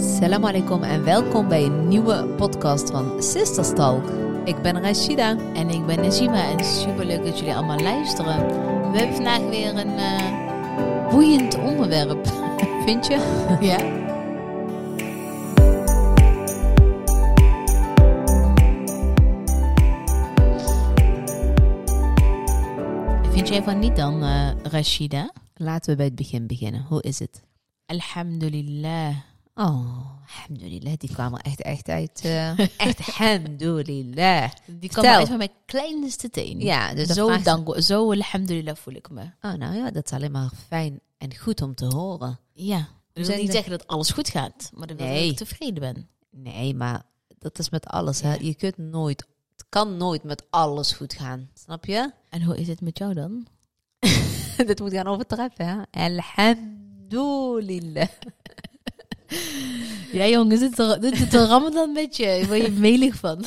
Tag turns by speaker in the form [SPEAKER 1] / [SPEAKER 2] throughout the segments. [SPEAKER 1] Salam alaikum en welkom bij een nieuwe podcast van Sisters Talk. Ik ben Rashida.
[SPEAKER 2] En ik ben Najima en super leuk dat jullie allemaal luisteren. We hebben vandaag weer een eh, boeiend onderwerp, vind je?
[SPEAKER 1] Ja?
[SPEAKER 2] Vind jij van niet dan, eh, Rashida?
[SPEAKER 1] Laten we bij het begin beginnen. Hoe is het?
[SPEAKER 2] Alhamdulillah.
[SPEAKER 1] Oh, alhamdulillah. Die kwam er echt, echt uit. eh, echt alhamdulillah.
[SPEAKER 2] Die kwam
[SPEAKER 1] Vertel.
[SPEAKER 2] uit van mijn kleinste teen.
[SPEAKER 1] Ja, dus
[SPEAKER 2] zo,
[SPEAKER 1] vraag-
[SPEAKER 2] dank, zo alhamdulillah voel ik me.
[SPEAKER 1] Oh, nou ja, dat is alleen maar fijn en goed om te horen.
[SPEAKER 2] Ja. Dat wil
[SPEAKER 1] zijn
[SPEAKER 2] niet
[SPEAKER 1] de-
[SPEAKER 2] zeggen dat alles goed gaat, maar dat wil
[SPEAKER 1] Nee.
[SPEAKER 2] dat ik tevreden ben.
[SPEAKER 1] Nee, maar dat is met alles. Hè. Je kunt nooit, het kan nooit met alles goed gaan. Snap je?
[SPEAKER 2] En hoe is het met jou dan?
[SPEAKER 1] Dit moet gaan overtreffen, hè? Alhamdulillah.
[SPEAKER 2] Ja jongens, dit is de- dit is de ramadan met je. Ik word je melig van.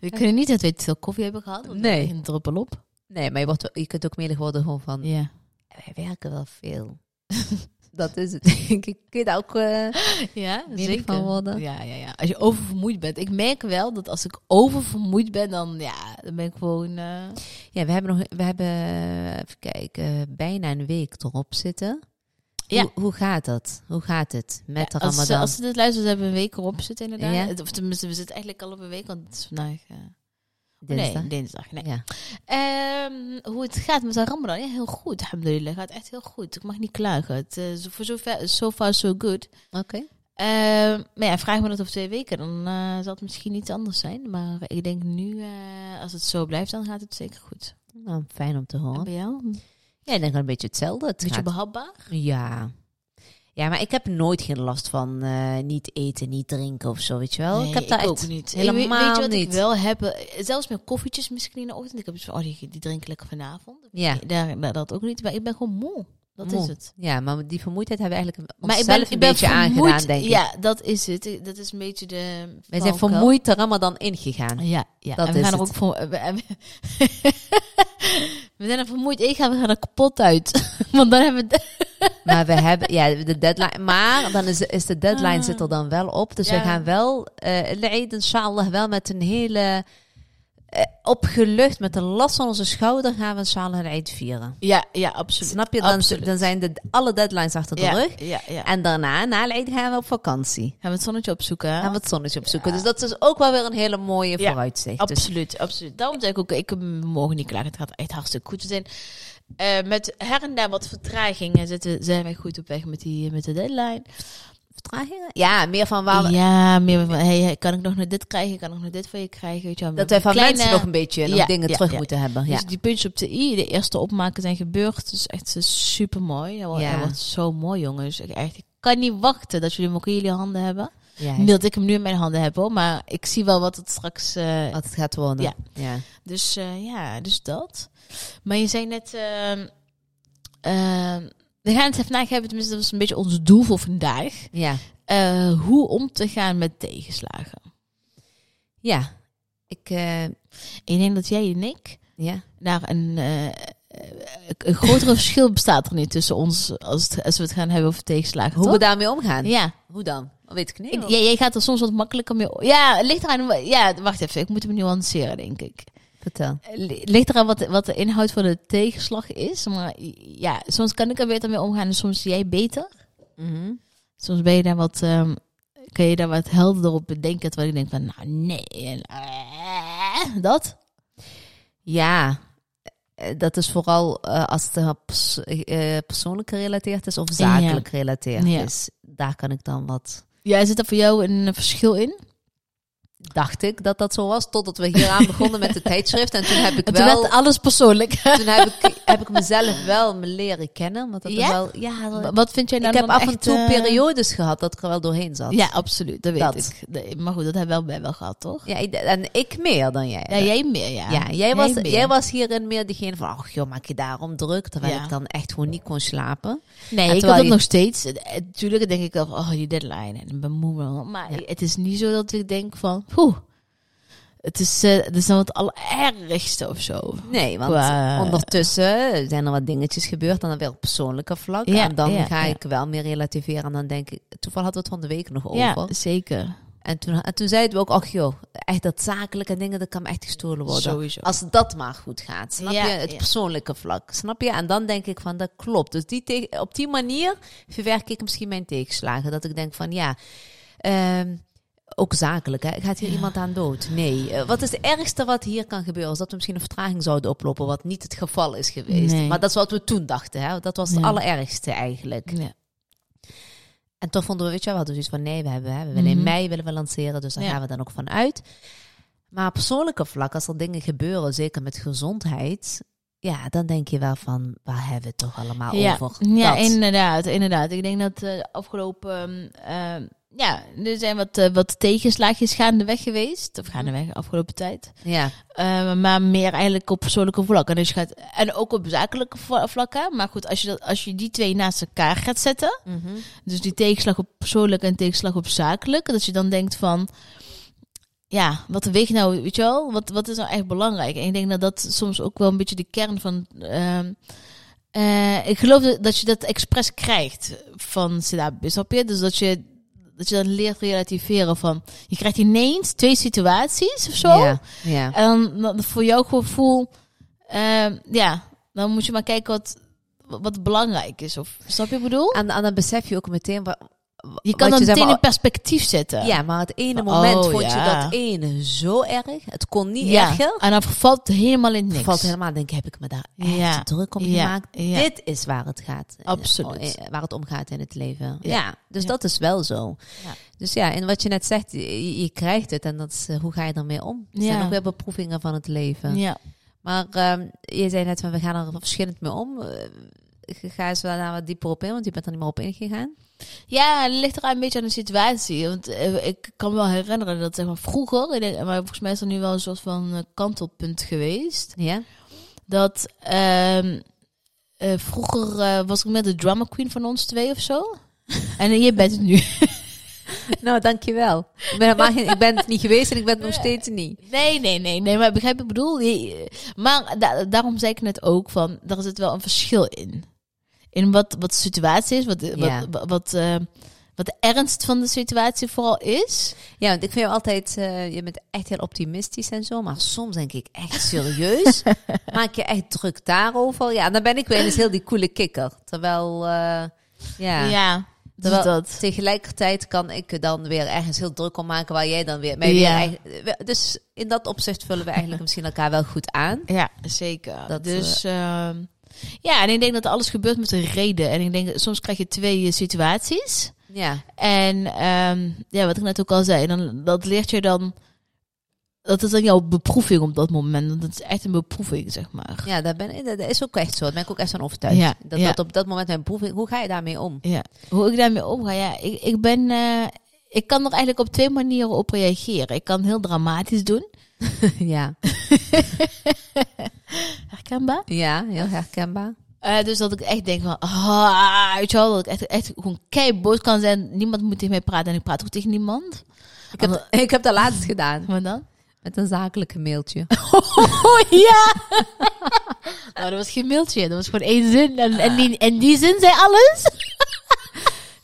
[SPEAKER 2] We kunnen niet dat we te veel koffie hebben gehad. want
[SPEAKER 1] Nee.
[SPEAKER 2] dat is Een druppel op.
[SPEAKER 1] Nee, maar je, wordt, wel- je kunt ook melig worden gewoon van...
[SPEAKER 2] Ja.
[SPEAKER 1] Wij werken wel veel. dat is het. denk ik kun je daar ook... eh,
[SPEAKER 2] Ja,
[SPEAKER 1] Melig
[SPEAKER 2] zeker.
[SPEAKER 1] van worden.
[SPEAKER 2] Ja, ja, ja. Als je oververmoeid bent. Ik merk wel dat als ik oververmoeid ben, dan, ja, dan ben ik gewoon... eh,
[SPEAKER 1] Ja, we hebben nog... We hebben, even kijken, bijna een week erop zitten.
[SPEAKER 2] Ja.
[SPEAKER 1] Hoe, hoe gaat dat? Hoe gaat het met de
[SPEAKER 2] als, ze-
[SPEAKER 1] ramadan?
[SPEAKER 2] als ze dit luisteren, ze hebben we een week erop zitten inderdaad.
[SPEAKER 1] Ja.
[SPEAKER 2] Het- Of tenminste, we zitten eigenlijk al op een week, want het is vandaag... eh,
[SPEAKER 1] Dinsdag?
[SPEAKER 2] Nee, dinsdag. Nee.
[SPEAKER 1] Ja.
[SPEAKER 2] Ehm, hoe het gaat met de ramadan? Ja, heel goed, alhamdulillah. gaat echt heel goed. Ik mag niet klagen. Het, eh, zo- voor zover, so far so good.
[SPEAKER 1] Oké.
[SPEAKER 2] Ehm, maar ja, vraag me dat over twee weken, dan eh, zal het misschien iets anders zijn. Maar ik denk nu, eh, als het zo blijft, dan gaat het zeker goed.
[SPEAKER 1] Nou, fijn om te
[SPEAKER 2] En
[SPEAKER 1] horen.
[SPEAKER 2] bij jou? Een
[SPEAKER 1] Ja, ik denk een beetje hetzelfde. Het
[SPEAKER 2] beetje
[SPEAKER 1] gaat-
[SPEAKER 2] behapbaar?
[SPEAKER 1] Ja. Ja, maar ik heb nooit geen last van eh, niet eten, niet drinken of zo, weet je wel. ik heb daar
[SPEAKER 2] ook
[SPEAKER 1] echt
[SPEAKER 2] niet.
[SPEAKER 1] helemaal
[SPEAKER 2] ik weet, weet je wat ik
[SPEAKER 1] niet.
[SPEAKER 2] wel heb? Eh, Zelfs mijn koffietjes misschien in de ochtend. Ik heb iets van, oh, die, die drink ik lekker vanavond.
[SPEAKER 1] Ja.
[SPEAKER 2] Nee, daar, daar- dat ook niet. Maar ik ben gewoon moe. Dat
[SPEAKER 1] Moe.
[SPEAKER 2] is het.
[SPEAKER 1] ja, maar die vermoeidheid hebben we eigenlijk
[SPEAKER 2] Maar
[SPEAKER 1] onszelf
[SPEAKER 2] ik ben,
[SPEAKER 1] een
[SPEAKER 2] ik ben
[SPEAKER 1] beetje
[SPEAKER 2] vermoeid.
[SPEAKER 1] aangedaan, denk ik.
[SPEAKER 2] Ja, dat is het. Dat is een beetje de...
[SPEAKER 1] We zijn
[SPEAKER 2] valkuil.
[SPEAKER 1] vermoeid de ramadan ingegaan.
[SPEAKER 2] Ja, ja.
[SPEAKER 1] Dat
[SPEAKER 2] en we
[SPEAKER 1] is
[SPEAKER 2] gaan er
[SPEAKER 1] het.
[SPEAKER 2] ook voor. We, we- we zijn er vermoeid. Ik ga, we gaan er kapot uit. Want dan hebben we.
[SPEAKER 1] maar we hebben, ja, de deadline. Maar dan is, is de deadline zit er dan wel op. Dus
[SPEAKER 2] Ah. Ja.
[SPEAKER 1] we gaan wel, eh Eid inshallah, wel met een hele eh, opgelucht, met een last van onze schouder, gaan we inshallah Eid vieren.
[SPEAKER 2] Ja, ja, absoluut.
[SPEAKER 1] Snap je? Dan,
[SPEAKER 2] Absoluut.
[SPEAKER 1] dan zijn de, alle deadlines achter de
[SPEAKER 2] ja,
[SPEAKER 1] rug.
[SPEAKER 2] Ja, ja.
[SPEAKER 1] En daarna, na Eid, gaan we op vakantie.
[SPEAKER 2] Gaan we het zonnetje opzoeken? hè?
[SPEAKER 1] Gaan we het zonnetje opzoeken.
[SPEAKER 2] Ja.
[SPEAKER 1] Dus dat is ook wel weer een hele mooie
[SPEAKER 2] Ja,
[SPEAKER 1] vooruitzicht. Dus
[SPEAKER 2] Absoluut, absoluut. Daarom zeg ik ook, ik, we mogen niet klagen. Het gaat echt hartstikke goed. We zijn eh, met her en daar wat vertragingen zitten, zijn wij goed op weg met, die, met de deadline.
[SPEAKER 1] vertragingen? Ja, meer van waar we-
[SPEAKER 2] ja, meer van, hey, hey, kan ik nog naar dit krijgen? Kan ik nog naar dit voor je krijgen? Weet je, wel,
[SPEAKER 1] dat wij van
[SPEAKER 2] kleine-
[SPEAKER 1] mensen nog een beetje nog
[SPEAKER 2] Ja,
[SPEAKER 1] dingen
[SPEAKER 2] ja,
[SPEAKER 1] terug
[SPEAKER 2] ja.
[SPEAKER 1] moeten hebben. Ja.
[SPEAKER 2] Dus die puntjes op de i, de eerste opmaken zijn gebeurd. Dus echt super mooi. Dat wordt,
[SPEAKER 1] Ja.
[SPEAKER 2] dat wordt zo mooi, jongens. Ik, echt, ik kan niet wachten dat jullie hem ook in jullie handen hebben.
[SPEAKER 1] Ja,
[SPEAKER 2] Niet dat ik hem nu in mijn handen heb, hoor. Maar ik zie wel wat het straks... eh,
[SPEAKER 1] Wat het gaat worden.
[SPEAKER 2] Ja.
[SPEAKER 1] ja.
[SPEAKER 2] dus eh, ja, dus dat. Maar je zei net... ehm, ehm, we gaan het vandaag hebben, tenminste dat was een beetje ons doel voor vandaag.
[SPEAKER 1] Ja.
[SPEAKER 2] Eh, hoe om te gaan met tegenslagen.
[SPEAKER 1] Ja. Ik, eh,
[SPEAKER 2] Ik denk dat jij en ik
[SPEAKER 1] ja.
[SPEAKER 2] naar een, eh, eh, een grotere verschil bestaat er niet tussen ons als, het- als we het gaan hebben over tegenslagen.
[SPEAKER 1] Hoe
[SPEAKER 2] toch?
[SPEAKER 1] we daarmee omgaan.
[SPEAKER 2] ja.
[SPEAKER 1] Hoe dan? Dat weet ik niet.
[SPEAKER 2] Ik- ja, jij gaat er soms wat makkelijker mee. o- Ja, het ligt eraan. wa- Ja, wacht even. Ik moet hem nuanceren, denk ik.
[SPEAKER 1] Vertel.
[SPEAKER 2] Eh, li- Ligt eraan wat, de- wat de inhoud van de tegenslag is. Maar ja, soms kan ik er beter mee omgaan en soms jij beter.
[SPEAKER 1] Mhm.
[SPEAKER 2] Soms ben je daar wat, ehm kun je daar wat helderder op bedenken. Terwijl ik denk van, nou nee. en, eh, dat.
[SPEAKER 1] Ja. Eh, Dat is vooral eh, als het eh, pers- eh, persoonlijk gerelateerd is of zakelijk gerelateerd
[SPEAKER 2] Ja.
[SPEAKER 1] is. Daar kan ik dan wat...
[SPEAKER 2] Ja, zit er voor jou een verschil in?
[SPEAKER 1] Dacht ik dat dat zo was, totdat we hieraan begonnen met de tijdschrift. En toen heb ik
[SPEAKER 2] En
[SPEAKER 1] wel...
[SPEAKER 2] toen werd alles persoonlijk.
[SPEAKER 1] toen heb ik, heb ik mezelf wel me leren kennen. Want dat
[SPEAKER 2] Ja?
[SPEAKER 1] is wel, ja, dat-
[SPEAKER 2] Wa- Wat vind jij
[SPEAKER 1] ik
[SPEAKER 2] nou
[SPEAKER 1] heb
[SPEAKER 2] dan
[SPEAKER 1] af en
[SPEAKER 2] echt,
[SPEAKER 1] toe
[SPEAKER 2] eh,
[SPEAKER 1] periodes gehad dat ik er wel doorheen zat.
[SPEAKER 2] Ja, absoluut. Dat weet
[SPEAKER 1] Dat.
[SPEAKER 2] ik. Nee, Maar goed, dat hebben we wel bij wel gehad, toch?
[SPEAKER 1] Ja, ik- en ik meer dan jij.
[SPEAKER 2] Ja, jij meer, ja.
[SPEAKER 1] Ja, jij, was,
[SPEAKER 2] meer.
[SPEAKER 1] jij was hierin meer diegene van, ach joh, maak je daarom druk. Terwijl
[SPEAKER 2] Ja.
[SPEAKER 1] ik dan echt gewoon niet kon slapen.
[SPEAKER 2] Nee,
[SPEAKER 1] En
[SPEAKER 2] ik
[SPEAKER 1] terwijl
[SPEAKER 2] had het
[SPEAKER 1] je-
[SPEAKER 2] nog steeds. Natuurlijk denk ik wel van, oh, die deadline en bemoeien. Maar het is niet zo dat ik denk van, poeh, Het is, eh het is dan het allerergste of zo.
[SPEAKER 1] Nee, want
[SPEAKER 2] Qua-
[SPEAKER 1] ondertussen zijn er wat dingetjes gebeurd. En dan weer op persoonlijke vlak.
[SPEAKER 2] Ja,
[SPEAKER 1] en dan
[SPEAKER 2] ja,
[SPEAKER 1] ga
[SPEAKER 2] ja.
[SPEAKER 1] ik wel meer relativeren. En dan denk ik... Toevallig hadden we het van de week nog over.
[SPEAKER 2] Ja, zeker.
[SPEAKER 1] En toen, en toen zeiden we ook, ach joh, echt dat zakelijke dingen, dat kan me echt gestolen worden.
[SPEAKER 2] Sowieso.
[SPEAKER 1] Als dat maar goed gaat, snap
[SPEAKER 2] Ja,
[SPEAKER 1] je? Het
[SPEAKER 2] ja.
[SPEAKER 1] persoonlijke vlak, snap je? En dan denk ik van, dat klopt. Dus die teg- op die manier verwerk ik misschien mijn tegenslagen. Dat ik denk van, ja, ehm, ook zakelijk, hè? gaat hier iemand aan dood? Nee. Eh, wat is het ergste wat hier kan gebeuren? Is dat we misschien een vertraging zouden oplopen, wat niet het geval is geweest.
[SPEAKER 2] Nee.
[SPEAKER 1] Maar dat is wat we toen dachten, hè? Dat was het
[SPEAKER 2] Ja.
[SPEAKER 1] allerergste eigenlijk.
[SPEAKER 2] Ja.
[SPEAKER 1] En toch vonden we, weet je wel, we hadden zoiets van nee, we, hebben, hè, we willen in
[SPEAKER 2] Mhm.
[SPEAKER 1] mei willen we lanceren, dus daar
[SPEAKER 2] Ja.
[SPEAKER 1] gaan we dan ook van uit. Maar op persoonlijke vlak, als er dingen gebeuren, zeker met gezondheid, ja, dan denk je wel van, waar hebben we het toch allemaal
[SPEAKER 2] Ja,
[SPEAKER 1] over?
[SPEAKER 2] ja
[SPEAKER 1] Dat.
[SPEAKER 2] inderdaad, inderdaad. Ik denk dat eh, de afgelopen... ehm, ehm, ja, er zijn wat, eh, wat tegenslaagjes gaandeweg geweest. Of gaandeweg de afgelopen tijd.
[SPEAKER 1] ja.
[SPEAKER 2] Eh, maar meer eigenlijk op persoonlijke vlak. En, dus je gaat, en ook op zakelijke vla- vlakken. Maar goed, als je, dat, als je die twee naast elkaar gaat zetten.
[SPEAKER 1] Mhm.
[SPEAKER 2] Dus die tegenslag op persoonlijk en tegenslag op zakelijk. Dat je dan denkt van... Ja, wat weegt nou, weet je wel? Wat, wat is nou echt belangrijk? En ik denk dat dat soms ook wel een beetje de kern van... ehm, eh, ik geloof dat- dat je dat expres krijgt van Sidabi, snap je? Dus dat je, dat je dan leert relativeren van... Je krijgt ineens twee situaties of zo.
[SPEAKER 1] Ja, ja.
[SPEAKER 2] En dan, dan voor jouw gevoel, ehm, ja, dan moet je maar kijken wat, wat belangrijk is. Of, snap je wat ik bedoel?
[SPEAKER 1] En, en dan besef je ook meteen... Wat,
[SPEAKER 2] Je kan
[SPEAKER 1] wat
[SPEAKER 2] dat
[SPEAKER 1] zeg
[SPEAKER 2] meteen
[SPEAKER 1] maar-
[SPEAKER 2] in perspectief zetten.
[SPEAKER 1] Ja, maar het ene
[SPEAKER 2] Oh,
[SPEAKER 1] moment vond je
[SPEAKER 2] ja.
[SPEAKER 1] dat ene zo erg, het kon niet
[SPEAKER 2] Ja.
[SPEAKER 1] erger.
[SPEAKER 2] En dan valt het helemaal in niks.
[SPEAKER 1] Valt helemaal, denk ik, heb ik me daar echt
[SPEAKER 2] Ja.
[SPEAKER 1] druk om
[SPEAKER 2] Ja.
[SPEAKER 1] gemaakt.
[SPEAKER 2] Ja.
[SPEAKER 1] Dit is waar het gaat.
[SPEAKER 2] Absoluut.
[SPEAKER 1] Eh, Waar het om gaat in het leven. Ja,
[SPEAKER 2] Ja.
[SPEAKER 1] dus
[SPEAKER 2] Ja.
[SPEAKER 1] dat is wel zo.
[SPEAKER 2] Ja.
[SPEAKER 1] Dus ja, en wat je net zegt, je, je krijgt het en dat is, eh, hoe ga je ermee om? Het zijn
[SPEAKER 2] Ja.
[SPEAKER 1] ook weer beproevingen van het leven.
[SPEAKER 2] Ja.
[SPEAKER 1] Maar ehm, je zei net van, we gaan er verschillend mee om. Eh, ga eens wel daar wat dieper op in, want je bent er niet meer op ingegaan.
[SPEAKER 2] Ja, het ligt er een beetje aan de situatie. Want eh, ik kan me wel herinneren dat zeg maar, vroeger, ik denk- maar volgens mij is er nu wel een soort van eh, kantelpunt geweest.
[SPEAKER 1] Ja?
[SPEAKER 2] Dat ehm, eh, vroeger eh, was ik met de drama queen van ons twee of zo. en je bent het nu.
[SPEAKER 1] nou, dankjewel. Ik ben, helemaal geen- ik ben het niet geweest en ik ben het nog steeds niet.
[SPEAKER 2] Nee, nee, nee, nee, maar begrijp ik bedoel. je- Maar da- daarom zei ik net ook van, daar zit wel een verschil in. In wat, wat de situatie is, wat,
[SPEAKER 1] Ja.
[SPEAKER 2] wat, wat, eh, wat de ernst van de situatie vooral is.
[SPEAKER 1] Ja, want ik vind jou altijd, eh, je bent echt heel optimistisch en zo, maar soms denk ik echt serieus. maak je echt druk daarover? Ja, dan ben ik weer eens heel die coole kikker. Terwijl, eh, ja.
[SPEAKER 2] Ja, dus
[SPEAKER 1] Terwijl
[SPEAKER 2] dat.
[SPEAKER 1] tegelijkertijd kan ik er dan weer ergens heel druk om maken waar jij dan weer mij
[SPEAKER 2] Ja.
[SPEAKER 1] weer eigen- we- Dus in dat opzicht vullen we eigenlijk misschien elkaar wel goed aan.
[SPEAKER 2] Ja, zeker.
[SPEAKER 1] Dat,
[SPEAKER 2] dus ehm, ja, en ik denk dat alles gebeurt met een reden. En ik denk, soms krijg je twee eh, situaties.
[SPEAKER 1] Ja,
[SPEAKER 2] En ehm, ja, wat ik net ook al zei, dan, dat leert je dan. Dat is dan jouw beproeving op dat moment. want Dat is echt een beproeving, zeg maar.
[SPEAKER 1] ja dat, ben, dat is ook echt zo. Daar ben ik ook echt van overtuigd.
[SPEAKER 2] Ja,
[SPEAKER 1] Dat,
[SPEAKER 2] ja.
[SPEAKER 1] dat op dat moment mijn proefing, hoe ga je daarmee om?
[SPEAKER 2] Ja. Hoe ik daarmee omga, ja, ik, ik ben. eh, ik kan er eigenlijk op twee manieren op reageren. Ik kan heel dramatisch doen.
[SPEAKER 1] ja.
[SPEAKER 2] Herkenbaar.
[SPEAKER 1] ja, heel herkenbaar.
[SPEAKER 2] Eh, dus dat ik echt denk van, ah, weet je wel, dat ik echt, echt gewoon kei boos kan zijn. Niemand moet tegen mij praten en ik praat ook tegen niemand.
[SPEAKER 1] Ik heb, ik heb dat laatst gedaan
[SPEAKER 2] Maar dan?
[SPEAKER 1] met een zakelijke mailtje.
[SPEAKER 2] Oh ja! nou, dat was geen mailtje, dat was gewoon één zin. En, en, die, en die zin zei alles.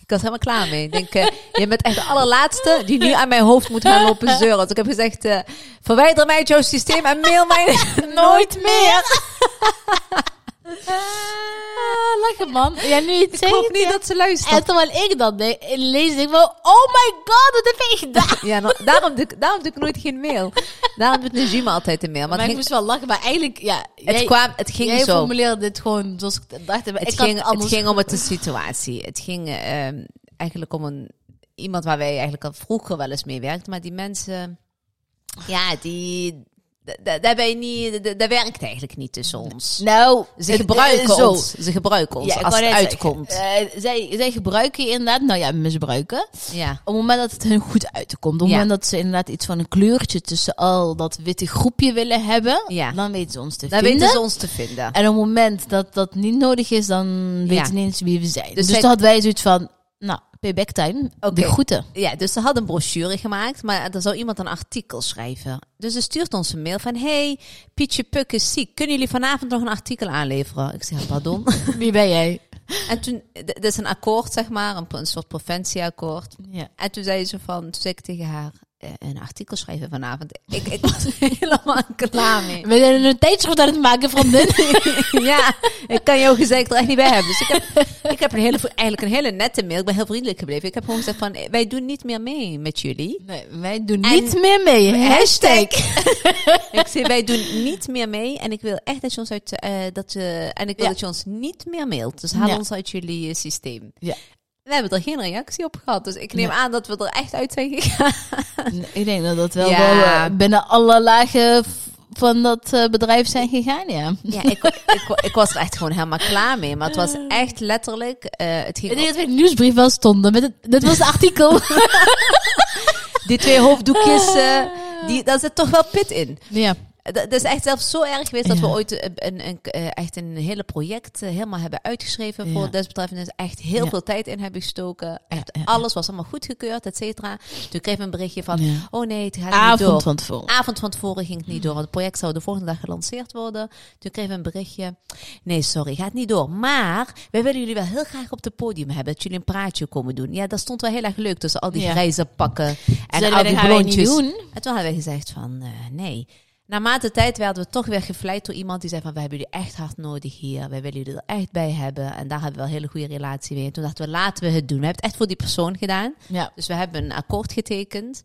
[SPEAKER 1] Ik was helemaal klaar mee. Ik denk, eh, je bent echt de allerlaatste die nu aan mijn hoofd moet gaan lopen zeuren. Dus ik heb gezegd, eh, verwijder mij uit jouw systeem en mail mij nooit meer.
[SPEAKER 2] Ah, lachen man. Ja, nu je het
[SPEAKER 1] Ik hoop
[SPEAKER 2] zegt.
[SPEAKER 1] niet dat ze luistert.
[SPEAKER 2] En terwijl ik dat deed, lees ik wel, oh my god, wat heb ik gedaan?
[SPEAKER 1] Ja, nou, daarom, doe ik, daarom doe ik nooit geen mail. Daarom doet Najima altijd een mail. Maar
[SPEAKER 2] Maar
[SPEAKER 1] het
[SPEAKER 2] ik
[SPEAKER 1] ging,
[SPEAKER 2] moest wel lachen, maar eigenlijk, ja.
[SPEAKER 1] het kwam, het ging
[SPEAKER 2] jij
[SPEAKER 1] zo.
[SPEAKER 2] formuleerde dit gewoon zoals ik dacht. Maar
[SPEAKER 1] Het
[SPEAKER 2] ik had
[SPEAKER 1] ging, het
[SPEAKER 2] anders
[SPEAKER 1] ging om het de situatie. Het ging ehm, eigenlijk om een, iemand waar wij eigenlijk al vroeger wel eens mee werkten. Maar die mensen, ja, die... da- da- Daar ben je niet, da- daar werkt eigenlijk niet tussen ons.
[SPEAKER 2] Nou,
[SPEAKER 1] Ze
[SPEAKER 2] het-
[SPEAKER 1] gebruiken
[SPEAKER 2] eh, zo.
[SPEAKER 1] ons. Ze gebruiken ons
[SPEAKER 2] ik
[SPEAKER 1] als het
[SPEAKER 2] wou net zeggen,
[SPEAKER 1] uitkomt.
[SPEAKER 2] eh, zij, zij gebruiken je inderdaad, nou ja, misbruiken.
[SPEAKER 1] ja.
[SPEAKER 2] Op het moment dat het hun goed uitkomt. Op het
[SPEAKER 1] Ja.
[SPEAKER 2] moment dat ze inderdaad iets van een kleurtje tussen al dat witte groepje willen hebben.
[SPEAKER 1] Ja.
[SPEAKER 2] Dan weten ze ons te
[SPEAKER 1] Daar
[SPEAKER 2] vinden.
[SPEAKER 1] weten ze ons te vinden.
[SPEAKER 2] En op het moment dat dat niet nodig is, dan weten ze niet eens wie we zijn.
[SPEAKER 1] Dus
[SPEAKER 2] Dus,
[SPEAKER 1] zij-
[SPEAKER 2] toen hadden wij zoiets van, nou, Payback time.
[SPEAKER 1] Oké.
[SPEAKER 2] De groeten.
[SPEAKER 1] Ja, dus ze hadden een brochure gemaakt, maar er zou iemand een artikel schrijven. Dus ze stuurt ons een mail van, hey, Pietje Puk is ziek. Kunnen jullie vanavond nog een artikel aanleveren? Ik zeg, pardon?
[SPEAKER 2] Wie ben jij?
[SPEAKER 1] en toen, d- dat is een akkoord, zeg maar, een, een soort preventieakkoord.
[SPEAKER 2] Ja.
[SPEAKER 1] En toen zei ze van, toen zei ik tegen haar, eh, een artikel schrijven vanavond. Ik, ik was helemaal klaar mee.
[SPEAKER 2] We zijn een tijdschrift aan het maken, vriendin.
[SPEAKER 1] ja, ik kan jouw gezicht er echt niet bij hebben. Dus ik heb, ik heb een hele, eigenlijk een hele nette mail. Ik ben heel vriendelijk gebleven. Ik heb gewoon gezegd van, eh, wij doen niet meer mee met jullie.
[SPEAKER 2] Nee, wij doen
[SPEAKER 1] En-
[SPEAKER 2] niet meer mee. Hashtag.
[SPEAKER 1] ik zei, wij doen niet meer mee. En ik wil echt dat je ons uit... eh, dat je, en ik wil
[SPEAKER 2] Ja.
[SPEAKER 1] dat je ons niet meer mailt. Dus haal
[SPEAKER 2] Ja.
[SPEAKER 1] ons uit jullie eh, systeem.
[SPEAKER 2] Ja.
[SPEAKER 1] We hebben er geen reactie op gehad. Dus ik neem
[SPEAKER 2] Nee.
[SPEAKER 1] aan dat we er echt uit zijn gegaan.
[SPEAKER 2] Nee, Ik denk dat dat wel,
[SPEAKER 1] Ja.
[SPEAKER 2] wel, eh, binnen alle lagen v- van dat eh, bedrijf zijn gegaan, ja.
[SPEAKER 1] Ja, ik, ik, ik was er echt gewoon helemaal klaar mee. Maar het was echt letterlijk... eh, het
[SPEAKER 2] Ik
[SPEAKER 1] ging
[SPEAKER 2] denk dat we in de nieuwsbrief wel stonden. Met het- dit was het artikel.
[SPEAKER 1] Die twee hoofddoekjes, eh, die, daar zit toch wel pit in.
[SPEAKER 2] ja.
[SPEAKER 1] Dat dat is echt zelfs zo erg geweest dat we
[SPEAKER 2] Ja.
[SPEAKER 1] ooit eh, een, een, eh, echt een hele project eh, helemaal hebben uitgeschreven
[SPEAKER 2] Ja.
[SPEAKER 1] voor desbetreffende. Echt heel
[SPEAKER 2] Ja.
[SPEAKER 1] veel tijd in hebben gestoken. Echt
[SPEAKER 2] ja, ja.
[SPEAKER 1] alles was allemaal goedgekeurd, et cetera. Toen kreeg ik een berichtje van,
[SPEAKER 2] Ja.
[SPEAKER 1] oh nee, het gaat niet door.
[SPEAKER 2] Avond van tevoren.
[SPEAKER 1] Avond van tevoren ging het niet door, want het project zou de volgende dag gelanceerd worden. Toen kreeg ik een berichtje. Nee, sorry, gaat niet door. Maar wij willen jullie wel heel graag op het podium hebben. Dat jullie een praatje komen doen. Ja, dat stond wel heel erg leuk tussen al die
[SPEAKER 2] Ja.
[SPEAKER 1] grijze pakken en
[SPEAKER 2] Zeiden
[SPEAKER 1] al
[SPEAKER 2] wij,
[SPEAKER 1] die
[SPEAKER 2] dat gaan wij
[SPEAKER 1] blondjes.
[SPEAKER 2] niet doen.
[SPEAKER 1] En toen hadden we gezegd van eh, nee. Naarmate tijd werden we toch weer gevleid door iemand die zei van... we hebben jullie echt hard nodig hier. Wij willen jullie er echt bij hebben. En daar hebben we wel een hele goede relatie mee. En toen dachten we, laten we het doen. We hebben het echt voor die persoon gedaan.
[SPEAKER 2] Ja.
[SPEAKER 1] Dus we hebben een akkoord getekend.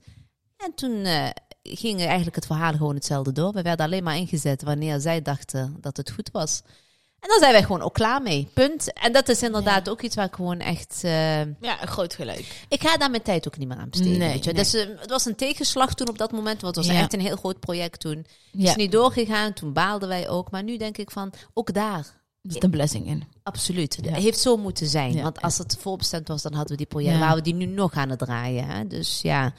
[SPEAKER 1] En toen eh, ging eigenlijk het verhaal gewoon hetzelfde door. We werden alleen maar ingezet wanneer zij dachten dat het goed was. En dan zijn wij gewoon ook klaar mee. Punt. En dat is inderdaad ook iets waar ik gewoon echt... eh,
[SPEAKER 2] ja, een groot gelijk.
[SPEAKER 1] ik ga daar mijn tijd ook niet meer aan besteden.
[SPEAKER 2] Nee,
[SPEAKER 1] weet je.
[SPEAKER 2] nee.
[SPEAKER 1] Dus, eh, het was een tegenslag toen op dat moment, want het was
[SPEAKER 2] Ja.
[SPEAKER 1] echt een heel groot project toen. Het
[SPEAKER 2] Ja,
[SPEAKER 1] is niet doorgegaan, toen baalden wij ook. Maar nu denk ik van, ook daar,
[SPEAKER 2] er zit een blessing in.
[SPEAKER 1] absoluut. Het
[SPEAKER 2] Ja.
[SPEAKER 1] heeft zo moeten zijn.
[SPEAKER 2] Ja,
[SPEAKER 1] want
[SPEAKER 2] ja.
[SPEAKER 1] als het voorbestemd was, dan hadden we die project,
[SPEAKER 2] Ja.
[SPEAKER 1] waar we die nu nog aan het draaien. Hè? Dus ja, en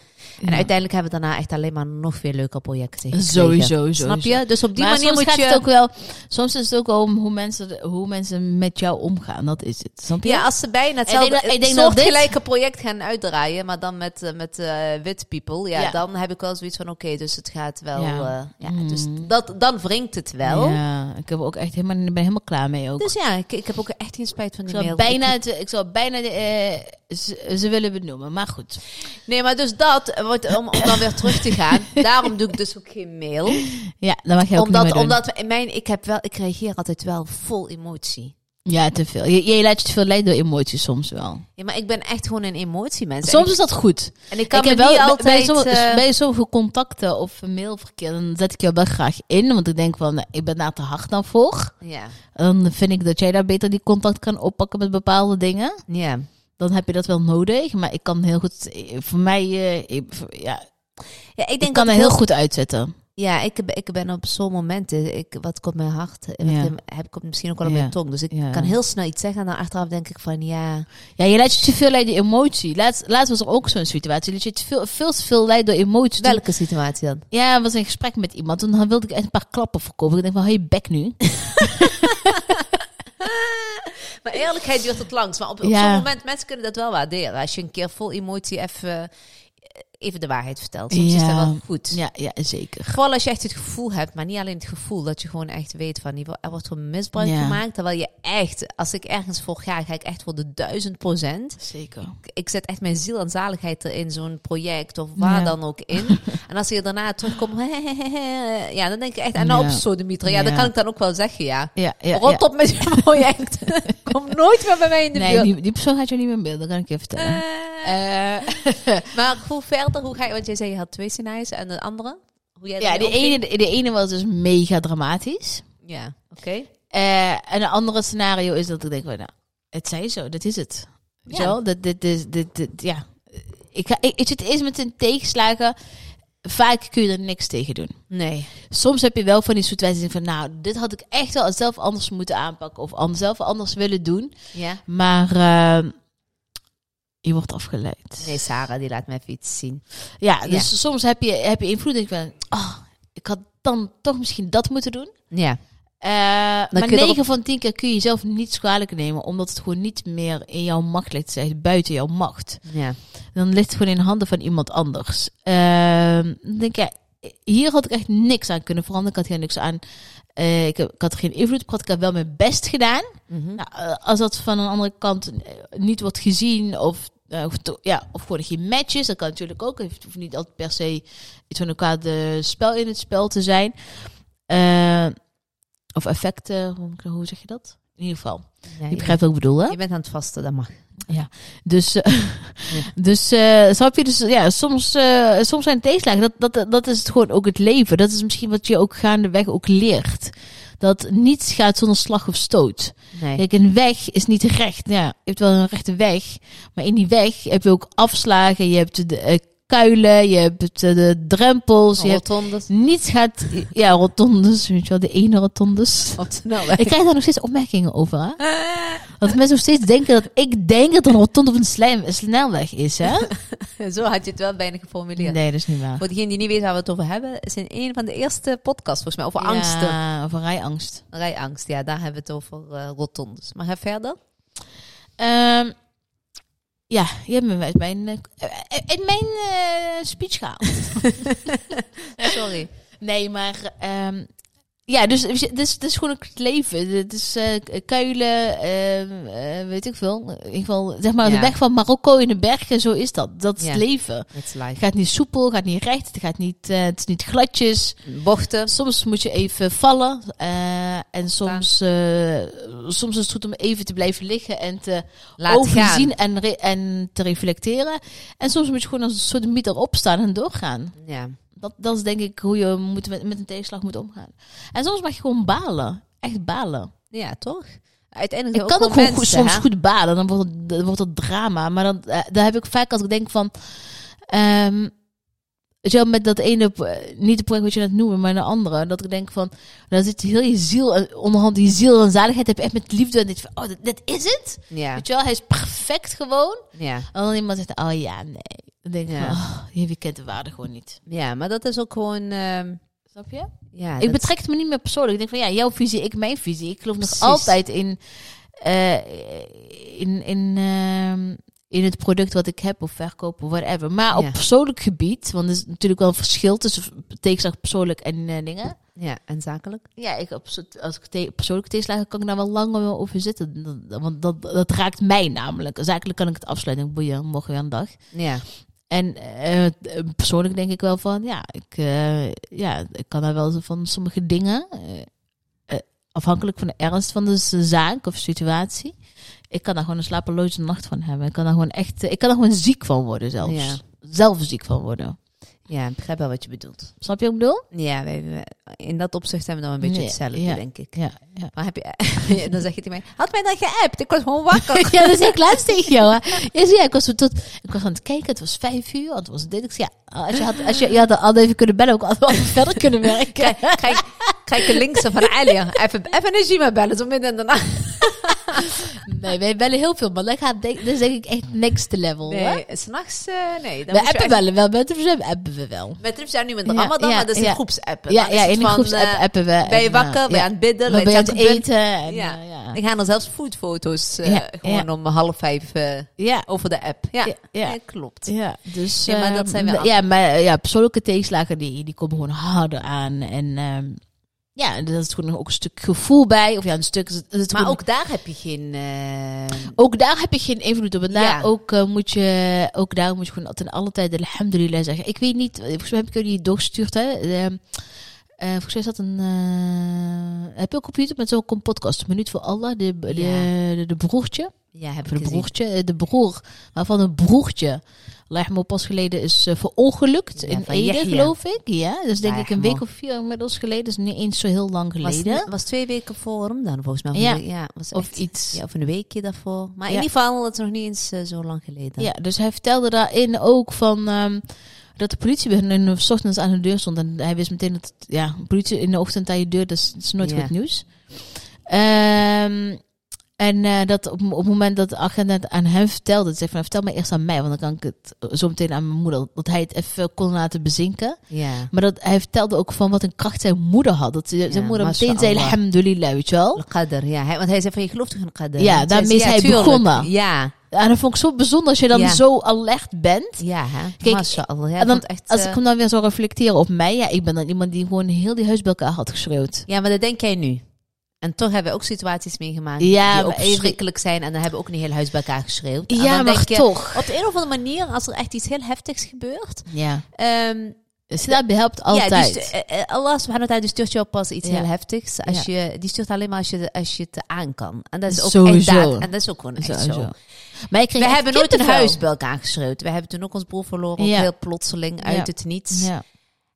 [SPEAKER 2] Ja.
[SPEAKER 1] uiteindelijk hebben we daarna echt alleen maar nog veel leuke projecten gekregen.
[SPEAKER 2] Sowieso,
[SPEAKER 1] Snap je? Dus op die
[SPEAKER 2] maar
[SPEAKER 1] manier
[SPEAKER 2] soms
[SPEAKER 1] moet
[SPEAKER 2] gaat
[SPEAKER 1] je...
[SPEAKER 2] het ook wel. Soms is het ook om hoe mensen, hoe mensen met jou omgaan. Dat is het. Snap je?
[SPEAKER 1] Ja, als ze bijna hetzelfde
[SPEAKER 2] dat- ik denk dat dit-
[SPEAKER 1] soortgelijke project gaan uitdraaien, maar dan met, eh, met eh, wit people, ja,
[SPEAKER 2] Ja.
[SPEAKER 1] dan heb ik wel zoiets van, oké, dus het gaat wel... eh,
[SPEAKER 2] Ja. Hmm.
[SPEAKER 1] Ja. Dus dat, dan wringt het wel.
[SPEAKER 2] Ja, ik heb ook echt helemaal, ik ben helemaal klaar mee ook. Dus
[SPEAKER 1] Dus ja, ik, ik heb ook echt geen spijt van
[SPEAKER 2] ik
[SPEAKER 1] die
[SPEAKER 2] zou
[SPEAKER 1] mail.
[SPEAKER 2] bijna, het- ik zou bijna eh, ze, ze willen benoemen, maar goed.
[SPEAKER 1] Nee, maar dus dat, eh, wordt, om, om dan weer terug te gaan, daarom doe ik dus ook geen mail.
[SPEAKER 2] Ja, dan mag jij ook niet
[SPEAKER 1] Omdat,
[SPEAKER 2] meer doen.
[SPEAKER 1] omdat we- mijn, ik, heb wel, ik reageer altijd wel vol emotie.
[SPEAKER 2] Ja, te veel. Je, je laat je te veel leiden door emoties soms wel.
[SPEAKER 1] Ja, maar ik ben echt gewoon een emotiemens.
[SPEAKER 2] Soms
[SPEAKER 1] en ik,
[SPEAKER 2] is dat goed.
[SPEAKER 1] en ik kan
[SPEAKER 2] ik heb
[SPEAKER 1] me
[SPEAKER 2] wel
[SPEAKER 1] niet
[SPEAKER 2] bij-
[SPEAKER 1] altijd...
[SPEAKER 2] bij, sommige,
[SPEAKER 1] eh,
[SPEAKER 2] bij sommige contacten of mailverkeer, dan zet ik jou wel graag in. Want ik denk van, nou, ik ben daar te hard dan voor.
[SPEAKER 1] ja,
[SPEAKER 2] Dan vind ik dat jij daar beter die contact kan oppakken met bepaalde dingen.
[SPEAKER 1] ja.
[SPEAKER 2] Dan heb je dat wel nodig. Maar ik kan heel goed, eh, voor mij, eh, ik, voor- ja, ik,
[SPEAKER 1] ja, ik denk
[SPEAKER 2] kan
[SPEAKER 1] dat
[SPEAKER 2] er
[SPEAKER 1] heel
[SPEAKER 2] heel goed uitzetten.
[SPEAKER 1] Ja, ik, ben- ik ben op zo'n momenten, ik, wat komt mijn hart, eh, wat
[SPEAKER 2] Ja.
[SPEAKER 1] in- heb ik op- misschien ook al op
[SPEAKER 2] Ja.
[SPEAKER 1] mijn tong. Dus ik
[SPEAKER 2] Ja. Dus
[SPEAKER 1] kan heel snel iets zeggen en dan achteraf denk ik van ja,
[SPEAKER 2] Ja, je laat je te veel leiden door emotie. Laatst, laatst was er ook zo'n situatie. Dat je te veel, veel te veel leidt door emotie. Toen-
[SPEAKER 1] welke situatie dan?
[SPEAKER 2] Ja, was een gesprek met iemand. Toen had- wilde ik echt een paar klappen verkopen. Ik denk van, hé, hey, bek nu.
[SPEAKER 1] Maar eerlijkheid duurt het langs. Maar op, op
[SPEAKER 2] Ja.
[SPEAKER 1] zo'n moment, mensen kunnen dat wel waarderen. Als je een keer vol emotie even, eh, even de waarheid vertelt. Soms is dat
[SPEAKER 2] Ja.
[SPEAKER 1] wel goed.
[SPEAKER 2] Ja, ja zeker.
[SPEAKER 1] Vooral als je echt het gevoel hebt, maar niet alleen het gevoel, dat je gewoon echt weet van die wo- er wordt gewoon misbruik
[SPEAKER 2] Ja.
[SPEAKER 1] gemaakt. Terwijl je echt, als ik ergens voor ga, ga ik echt voor de duizend procent.
[SPEAKER 2] Zeker.
[SPEAKER 1] ik- ik zet echt mijn ziel en zaligheid erin, zo'n project of waar
[SPEAKER 2] Ja.
[SPEAKER 1] dan ook in. en als je daarna terugkomt, ja, dan denk ik echt, en nou
[SPEAKER 2] Ja.
[SPEAKER 1] op sodemieter. Ja, dat
[SPEAKER 2] Ja.
[SPEAKER 1] kan ik dan ook wel zeggen, ja.
[SPEAKER 2] Ja, ja,
[SPEAKER 1] Rot
[SPEAKER 2] ja.
[SPEAKER 1] op met je project. Kom nooit meer bij mij in de
[SPEAKER 2] Nee,
[SPEAKER 1] buurt.
[SPEAKER 2] die, die persoon gaat jou niet meer Eh. in beeld. Dat kan ik je vertellen.
[SPEAKER 1] Eh, maar hoe verder, hoe ga je, want jij zei je had twee scenario's en de andere? Hoe jij
[SPEAKER 2] ja,
[SPEAKER 1] daarmee
[SPEAKER 2] de
[SPEAKER 1] omging?
[SPEAKER 2] ene, de, ene was dus mega dramatisch.
[SPEAKER 1] Ja, oké.
[SPEAKER 2] Eh, en een andere scenario is dat ik denk, van, nou, het zij zo. Dat is het. Weet je
[SPEAKER 1] Ja.
[SPEAKER 2] wel? Dat, dit, dit, dit, dit- ja. Ik, ga, ik, ik zit eerst met een tegenslagen. Vaak kun je er niks tegen doen.
[SPEAKER 1] Nee.
[SPEAKER 2] Soms heb je wel van die situaties van, nou, dit had ik echt wel zelf anders moeten aanpakken of anders, zelf anders willen doen.
[SPEAKER 1] Ja.
[SPEAKER 2] Maar eh, je wordt afgeleid.
[SPEAKER 1] Nee, Sarah, die laat mij even iets zien.
[SPEAKER 2] Ja, dus "Ah, soms heb je, heb je invloed. en Ik ben, oh, ik had dan toch misschien dat moeten doen.
[SPEAKER 1] Ja.
[SPEAKER 2] Eh, maar
[SPEAKER 1] kun je
[SPEAKER 2] 9
[SPEAKER 1] erop-
[SPEAKER 2] van 10 keer kun je jezelf niet kwalijk nemen, omdat het gewoon niet meer in jouw macht ligt, zeg, buiten jouw macht.
[SPEAKER 1] Ja.
[SPEAKER 2] Dan ligt het gewoon in de handen van iemand anders. Ehm, dan denk ik, ja, hier had ik echt niks aan kunnen veranderen. Ik had hier niks aan. eh, ik, heb- ik had er geen invloed op gehad. Ik heb wel mijn best gedaan.
[SPEAKER 1] Mhm.
[SPEAKER 2] Nou, eh, als dat van een andere kant eh, niet wordt gezien of, eh, of, to- ja, of gewoon geen match is, dat kan natuurlijk ook. Het hoeft niet altijd per se iets van elkaar de spel in het spel te zijn. Eh, of effecten, hoe- hoe zeg je dat? In ieder geval,
[SPEAKER 1] Ja,
[SPEAKER 2] je
[SPEAKER 1] je,
[SPEAKER 2] begrijpt wat ik bedoel, hè?
[SPEAKER 1] je bent aan het vasten, dat mag.
[SPEAKER 2] Dus, eh, dus eh, snap je? Dus ja, soms, eh, soms zijn het tegenslagen. Dat, dat, dat is het gewoon ook het leven. Dat is misschien wat je ook gaandeweg ook leert. Dat niets gaat zonder slag of stoot.
[SPEAKER 1] Nee.
[SPEAKER 2] Kijk, een weg is niet recht. Ja, je hebt wel een rechte weg. Maar in die weg heb je ook afslagen. Je hebt de eh, kuilen. Je hebt eh, de drempels. Je hebt...
[SPEAKER 1] Rotondes.
[SPEAKER 2] Niets gaat... Ja, rotondes. Weet je wel, de ene rotondes.
[SPEAKER 1] Op de snelweg.
[SPEAKER 2] Ik krijg daar nog steeds opmerkingen over, hè? Dat mensen nog steeds denken dat ik denk dat een rotonde op een slijm- een snelweg is, hè?
[SPEAKER 1] Zo had je het wel bijna geformuleerd.
[SPEAKER 2] Nee, dat is niet waar.
[SPEAKER 1] Voor degenen die niet weten waar we het over hebben, is in een van de eerste podcasts volgens mij over angsten.
[SPEAKER 2] Ja, over rijangst.
[SPEAKER 1] Rijangst, ja, daar hebben we het over eh, rotondes. Maar ga verder.
[SPEAKER 2] Ehm, ja, je hebt me uit mijn, eh, uit mijn eh, speech gehaald.
[SPEAKER 1] Sorry.
[SPEAKER 2] Nee, maar ehm, ja, dus het is dus, dus gewoon ook het leven. Het is eh, k- kuilen, ehm, eh, weet ik veel. In ieder geval, zeg maar, de
[SPEAKER 1] Ja.
[SPEAKER 2] weg van Marokko in de bergen, zo is dat. Dat is
[SPEAKER 1] Ja.
[SPEAKER 2] het leven.
[SPEAKER 1] It's
[SPEAKER 2] Het
[SPEAKER 1] life.
[SPEAKER 2] gaat niet soepel, het gaat niet recht, het, gaat niet, eh, het is niet gladjes.
[SPEAKER 1] Bochten.
[SPEAKER 2] Soms moet je even vallen eh, en soms, eh, soms is het goed om even te blijven liggen en te
[SPEAKER 1] Laat
[SPEAKER 2] overzien en, re- en te reflecteren. En soms moet je gewoon als een soort miet erop staan en doorgaan.
[SPEAKER 1] gaan. Ja.
[SPEAKER 2] Dat, dat is denk ik hoe je moet met, met een tegenslag moet omgaan. En soms mag je gewoon balen. Echt balen.
[SPEAKER 1] ja, toch? Uiteindelijk
[SPEAKER 2] Ik
[SPEAKER 1] zijn
[SPEAKER 2] kan
[SPEAKER 1] we
[SPEAKER 2] ook gewoon goed-
[SPEAKER 1] mensen,
[SPEAKER 2] soms
[SPEAKER 1] hè?
[SPEAKER 2] goed balen. Dan wordt het, dan wordt het drama. Maar dan, eh, daar heb ik vaak als ik denk van... ehm, weet je wel, met dat ene, eh, niet het project wat je net noemde, maar een andere. Dat ik denk van, dan zit heel je ziel, eh, onderhand die ziel en zaligheid heb je echt met liefde. En dit, van, oh, dit, dit is het?
[SPEAKER 1] Ja,
[SPEAKER 2] Weet je wel, hij is perfect gewoon.
[SPEAKER 1] ja.
[SPEAKER 2] En dan iemand zegt, oh ja, nee. Dan denk ik
[SPEAKER 1] Ja.
[SPEAKER 2] van, oh, je kent de waarde gewoon niet.
[SPEAKER 1] ja, maar dat is ook gewoon... ehm,
[SPEAKER 2] Snap je?
[SPEAKER 1] ja,
[SPEAKER 2] ik
[SPEAKER 1] dat-
[SPEAKER 2] betrek het me niet meer persoonlijk. Ik denk van ja, jouw visie, ik mijn visie. Ik geloof
[SPEAKER 1] Precies.
[SPEAKER 2] nog altijd in, eh, in, in, ehm, in het product wat ik heb of verkoop of whatever.
[SPEAKER 1] Ja.
[SPEAKER 2] Maar op persoonlijk gebied, want er is natuurlijk wel een verschil tussen tegenslag persoonlijk en eh, dingen.
[SPEAKER 1] Ja, en zakelijk.
[SPEAKER 2] Ja, ik, op zo- als ik te- persoonlijke tegenslagen kan ik daar wel lang over zitten. Dat- Want dat, dat raakt mij namelijk. Zakelijk kan ik het afsluiten. Boeien, morgen weer een dag.
[SPEAKER 1] Ja,
[SPEAKER 2] En eh, persoonlijk denk ik wel van, ja, ik, eh, ja, ik kan daar wel zo van sommige dingen, eh, eh, afhankelijk van de ernst van de z- zaak of situatie, ik kan daar gewoon een slapeloze nacht van hebben. Ik kan daar gewoon echt, eh, ik kan daar gewoon ziek van worden zelfs.
[SPEAKER 1] Ja.
[SPEAKER 2] Zelf ziek van worden.
[SPEAKER 1] ja, ik begrijp wel wat je bedoelt.
[SPEAKER 2] Snap je wat ik bedoel?
[SPEAKER 1] Ja, wij, wij- in dat opzicht zijn we dan een beetje
[SPEAKER 2] Nee,
[SPEAKER 1] hetzelfde,
[SPEAKER 2] ja.
[SPEAKER 1] denk ik.
[SPEAKER 2] Ja, ja.
[SPEAKER 1] Maar heb je, ja, dan zeg je tegen mij, had mij dan geappt? Ik was gewoon wakker.
[SPEAKER 2] Ja, dat is ik laatst tegen jou. Hè. Ja, zie je, ik was, zo tot, ik was aan het kijken, het was vijf uur, het was dit. Ik zei, ja, als je had, als je, je had al even kunnen bellen, ook al had verder kunnen werken.
[SPEAKER 1] Krijg, krijg de linkse van Alia. Even, even een Gima bellen, zo midden in de nacht.
[SPEAKER 2] Nee, wij bellen heel veel, maar dat gaat denk, dat is denk ik echt next level. hè?
[SPEAKER 1] Nee, s'nachts, eh nee. Dan moet
[SPEAKER 2] we
[SPEAKER 1] je
[SPEAKER 2] appen
[SPEAKER 1] echt-
[SPEAKER 2] bellen wel, met de verzet appen we wel.
[SPEAKER 1] Met Rif zijn nu met
[SPEAKER 2] Ja,
[SPEAKER 1] Ramadan,
[SPEAKER 2] ja,
[SPEAKER 1] maar dat is
[SPEAKER 2] ja.
[SPEAKER 1] in groepsappen.
[SPEAKER 2] Ja,
[SPEAKER 1] Dan is
[SPEAKER 2] ja
[SPEAKER 1] het
[SPEAKER 2] in de
[SPEAKER 1] van,
[SPEAKER 2] groepsapp
[SPEAKER 1] eh,
[SPEAKER 2] appen we.
[SPEAKER 1] Ben je
[SPEAKER 2] en, eh,
[SPEAKER 1] wakker? Ben je
[SPEAKER 2] ja.
[SPEAKER 1] aan het bidden?
[SPEAKER 2] Wat ben je aan het
[SPEAKER 1] zakkenpunt?
[SPEAKER 2] eten? En,
[SPEAKER 1] Ja.
[SPEAKER 2] eh, ja.
[SPEAKER 1] Dan gaan er zelfs foodfoto's eh,
[SPEAKER 2] Ja,
[SPEAKER 1] gewoon om half vijf eh,
[SPEAKER 2] Ja.
[SPEAKER 1] over de app. Ja,
[SPEAKER 2] Ja,
[SPEAKER 1] ja,
[SPEAKER 2] ja.
[SPEAKER 1] klopt.
[SPEAKER 2] Ja, dus...
[SPEAKER 1] Ja, maar dat
[SPEAKER 2] ehm,
[SPEAKER 1] zijn wel-
[SPEAKER 2] Ja, maar ja, persoonlijke tegenslagen, die, die komen gewoon harder aan. En ehm ja, en daar is gewoon ook een stuk gevoel bij. Of ja, een stuk... is het- is het
[SPEAKER 1] Maar
[SPEAKER 2] gewoon-
[SPEAKER 1] ook daar heb je geen... eh,
[SPEAKER 2] Ook daar heb je geen invloed op. En daar
[SPEAKER 1] Ja.
[SPEAKER 2] ook, eh, moet je, ook daar moet je gewoon ten alle tijde alhamdulillah zeggen. Ik weet niet, eh, volgens mij heb ik jullie doorgestuurd. Hè? Eh, eh, volgens mij is dat een... eh, heb je ook op YouTube met zo'n podcast, Minuut voor Allah, de, de,
[SPEAKER 1] Ja.
[SPEAKER 2] de, de broertje.
[SPEAKER 1] ja, heb
[SPEAKER 2] Of
[SPEAKER 1] ik
[SPEAKER 2] de
[SPEAKER 1] gezien.
[SPEAKER 2] broertje, eh, de broer. Waarvan een broertje, me pas geleden, is eh, verongelukt
[SPEAKER 1] Ja,
[SPEAKER 2] in
[SPEAKER 1] van
[SPEAKER 2] Ede,
[SPEAKER 1] Yahya.
[SPEAKER 2] geloof ik. Ja, dus denk ik een
[SPEAKER 1] Rahimahu.
[SPEAKER 2] week of vier inmiddels geleden. Dus niet eens zo heel lang
[SPEAKER 1] Was,
[SPEAKER 2] geleden.
[SPEAKER 1] was twee weken voor hem dan, volgens mij.
[SPEAKER 2] Ja.
[SPEAKER 1] ja was
[SPEAKER 2] Of
[SPEAKER 1] echt-
[SPEAKER 2] iets.
[SPEAKER 1] Ja, of een weekje daarvoor. Maar in
[SPEAKER 2] Ja.
[SPEAKER 1] ieder geval, dat is nog niet eens eh, zo lang geleden.
[SPEAKER 2] Ja, dus hij vertelde daarin ook van ehm, dat de politie bij hun in de ochtends aan de deur stond. En hij wist meteen dat het- ja, politie in de ochtend aan je deur, dat is, dat is nooit
[SPEAKER 1] Ja.
[SPEAKER 2] goed nieuws. Ehm, En eh, dat op, op het moment dat de agent het aan hem vertelde, zei van "Nou, vertel maar eerst aan mij, want dan kan ik het zo meteen aan mijn moeder, dat hij het even kon laten bezinken.
[SPEAKER 1] Ja.
[SPEAKER 2] Maar dat, hij vertelde ook van wat een kracht zijn moeder had. Dat ze- zijn moeder meteen zei,
[SPEAKER 1] mashallah.
[SPEAKER 2] alhamdulillah, weet je wel.
[SPEAKER 1] Al-Qadr, ja. Hij- want hij zei van, je gelooft toch in Qadr?
[SPEAKER 2] Ja,
[SPEAKER 1] Toen zei
[SPEAKER 2] daarmee
[SPEAKER 1] ze,
[SPEAKER 2] is hij
[SPEAKER 1] tuurlijk.
[SPEAKER 2] begonnen.
[SPEAKER 1] Ja,
[SPEAKER 2] En dat vond ik zo bijzonder als je dan
[SPEAKER 1] Ja.
[SPEAKER 2] zo alert bent.
[SPEAKER 1] ja. Hè?
[SPEAKER 2] Kijk,
[SPEAKER 1] Mashallah. Ja,
[SPEAKER 2] en dan,
[SPEAKER 1] vond echt,
[SPEAKER 2] als
[SPEAKER 1] eh,
[SPEAKER 2] ik hem dan weer zou reflecteren op mij, ja, ik ben dan iemand die gewoon heel die huis bij elkaar had geschreeuwd.
[SPEAKER 1] ja, maar dat denk jij nu. En toch hebben we ook situaties meegemaakt
[SPEAKER 2] Ja,
[SPEAKER 1] die ook
[SPEAKER 2] maar even-
[SPEAKER 1] verschrikkelijk zijn. En dan hebben we ook een heel huis bij elkaar geschreeuwd. En
[SPEAKER 2] Ja,
[SPEAKER 1] dan
[SPEAKER 2] maar
[SPEAKER 1] denk je,
[SPEAKER 2] toch.
[SPEAKER 1] Op de een of andere manier, als er echt iets heel heftigs gebeurt...
[SPEAKER 2] Ja.
[SPEAKER 1] ehm,
[SPEAKER 2] Dus dat helpt altijd.
[SPEAKER 1] Ja, dus, eh, eh, Allah subhanahu wa ta'ala die stuurt jou pas iets
[SPEAKER 2] Ja.
[SPEAKER 1] heel heftigs. Als je, die stuurt alleen maar als je, als je het aan kan. En dat is ook
[SPEAKER 2] Sowieso.
[SPEAKER 1] echt daad- En dat is ook gewoon echt
[SPEAKER 2] Sowieso.
[SPEAKER 1] zo.
[SPEAKER 2] Maar ik kreeg
[SPEAKER 1] We
[SPEAKER 2] echt
[SPEAKER 1] hebben nooit een
[SPEAKER 2] kippenvel.
[SPEAKER 1] huis bij elkaar geschreeuwd. We hebben toen ook ons broer verloren. ook
[SPEAKER 2] Ja.
[SPEAKER 1] Heel plotseling, uit
[SPEAKER 2] Ja.
[SPEAKER 1] het niets.
[SPEAKER 2] Ja.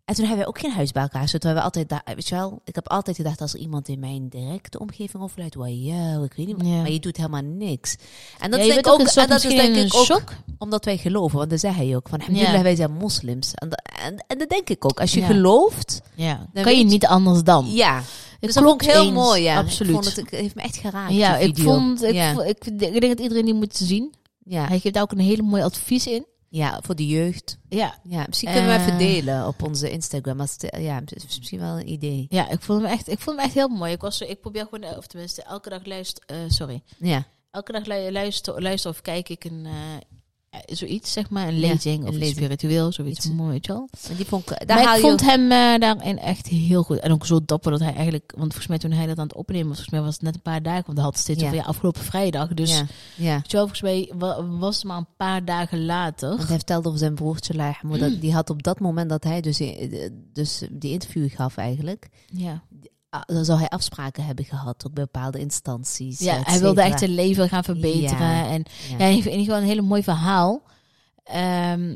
[SPEAKER 1] En toen hebben we ook geen huis bij elkaar geschreeuwd. We hebben altijd, da- weet je wel, ik heb altijd gedacht als er iemand in mijn directe omgeving overlijdt. Wauw, ik weet niet.
[SPEAKER 2] Ja.
[SPEAKER 1] Maar je doet helemaal niks. En
[SPEAKER 2] Ja,
[SPEAKER 1] dat
[SPEAKER 2] je
[SPEAKER 1] is denk
[SPEAKER 2] bent
[SPEAKER 1] ik ook,
[SPEAKER 2] ook een soort
[SPEAKER 1] en dat is
[SPEAKER 2] misschien
[SPEAKER 1] denk
[SPEAKER 2] in
[SPEAKER 1] ik
[SPEAKER 2] een
[SPEAKER 1] ook
[SPEAKER 2] shock.
[SPEAKER 1] omdat wij geloven. Want dat zei hij ook. Van, alhamdulillah,
[SPEAKER 2] Ja.
[SPEAKER 1] wij zijn moslims. En, dat- en, en dat denk ik ook. Als je
[SPEAKER 2] Ja.
[SPEAKER 1] gelooft,
[SPEAKER 2] Ja.
[SPEAKER 1] Dan
[SPEAKER 2] Kan je
[SPEAKER 1] weet-
[SPEAKER 2] niet anders dan.
[SPEAKER 1] ja,
[SPEAKER 2] Het
[SPEAKER 1] dus dat vond ik heel
[SPEAKER 2] eens.
[SPEAKER 1] mooi, ja.
[SPEAKER 2] Absoluut.
[SPEAKER 1] Ik vond het, het heeft me echt geraakt,
[SPEAKER 2] ja,
[SPEAKER 1] die
[SPEAKER 2] ik
[SPEAKER 1] video.
[SPEAKER 2] vond, ik,
[SPEAKER 1] ja.
[SPEAKER 2] vo- ik, vind- ik denk dat iedereen die moet zien.
[SPEAKER 1] ja.
[SPEAKER 2] Hij geeft daar ook een hele mooi advies in.
[SPEAKER 1] ja, voor de jeugd.
[SPEAKER 2] Ja.
[SPEAKER 1] Ja, misschien kunnen we
[SPEAKER 2] Eh.
[SPEAKER 1] even delen op onze Instagram. Als het, eh, ja, het is misschien wel een idee.
[SPEAKER 2] Ja, ik vond hem echt, ik vond hem echt heel mooi. Ik, was zo, ik probeer gewoon, eh, of tenminste, elke dag luisteren. sorry.
[SPEAKER 1] Ja,
[SPEAKER 2] Elke dag lu- luister, luister of kijk ik een, eh, eh, zoiets, zeg maar, een
[SPEAKER 1] Ja,
[SPEAKER 2] lezing of
[SPEAKER 1] een
[SPEAKER 2] iets
[SPEAKER 1] lezing.
[SPEAKER 2] spiritueel, zoiets
[SPEAKER 1] Iets-
[SPEAKER 2] mooi, weet je wel.
[SPEAKER 1] en die vond ik... Daar
[SPEAKER 2] Maar
[SPEAKER 1] haal
[SPEAKER 2] ik
[SPEAKER 1] je
[SPEAKER 2] vond hem eh, daarin echt heel goed. En ook zo dapper dat hij eigenlijk... Want volgens mij toen hij dat aan het opnemen was... Volgens mij was het net een paar dagen. Want hij had steeds
[SPEAKER 1] Ja.
[SPEAKER 2] over ja, afgelopen vrijdag. Dus
[SPEAKER 1] Ja, ja.
[SPEAKER 2] weet je wel, volgens mij wa- was het maar een paar dagen later.
[SPEAKER 1] Want hij vertelde over zijn broertje, Lahmo,
[SPEAKER 2] Mm.
[SPEAKER 1] dat die had op dat moment dat hij dus, eh, dus die interview gaf eigenlijk...
[SPEAKER 2] Ja,
[SPEAKER 1] ah, Dan zou hij afspraken hebben gehad, ook bij bepaalde instanties.
[SPEAKER 2] ja
[SPEAKER 1] et
[SPEAKER 2] hij wilde
[SPEAKER 1] cetera.
[SPEAKER 2] echt zijn leven gaan verbeteren.
[SPEAKER 1] Ja.
[SPEAKER 2] En
[SPEAKER 1] Ja.
[SPEAKER 2] ja. in ieder geval een hele mooi verhaal. Ehm,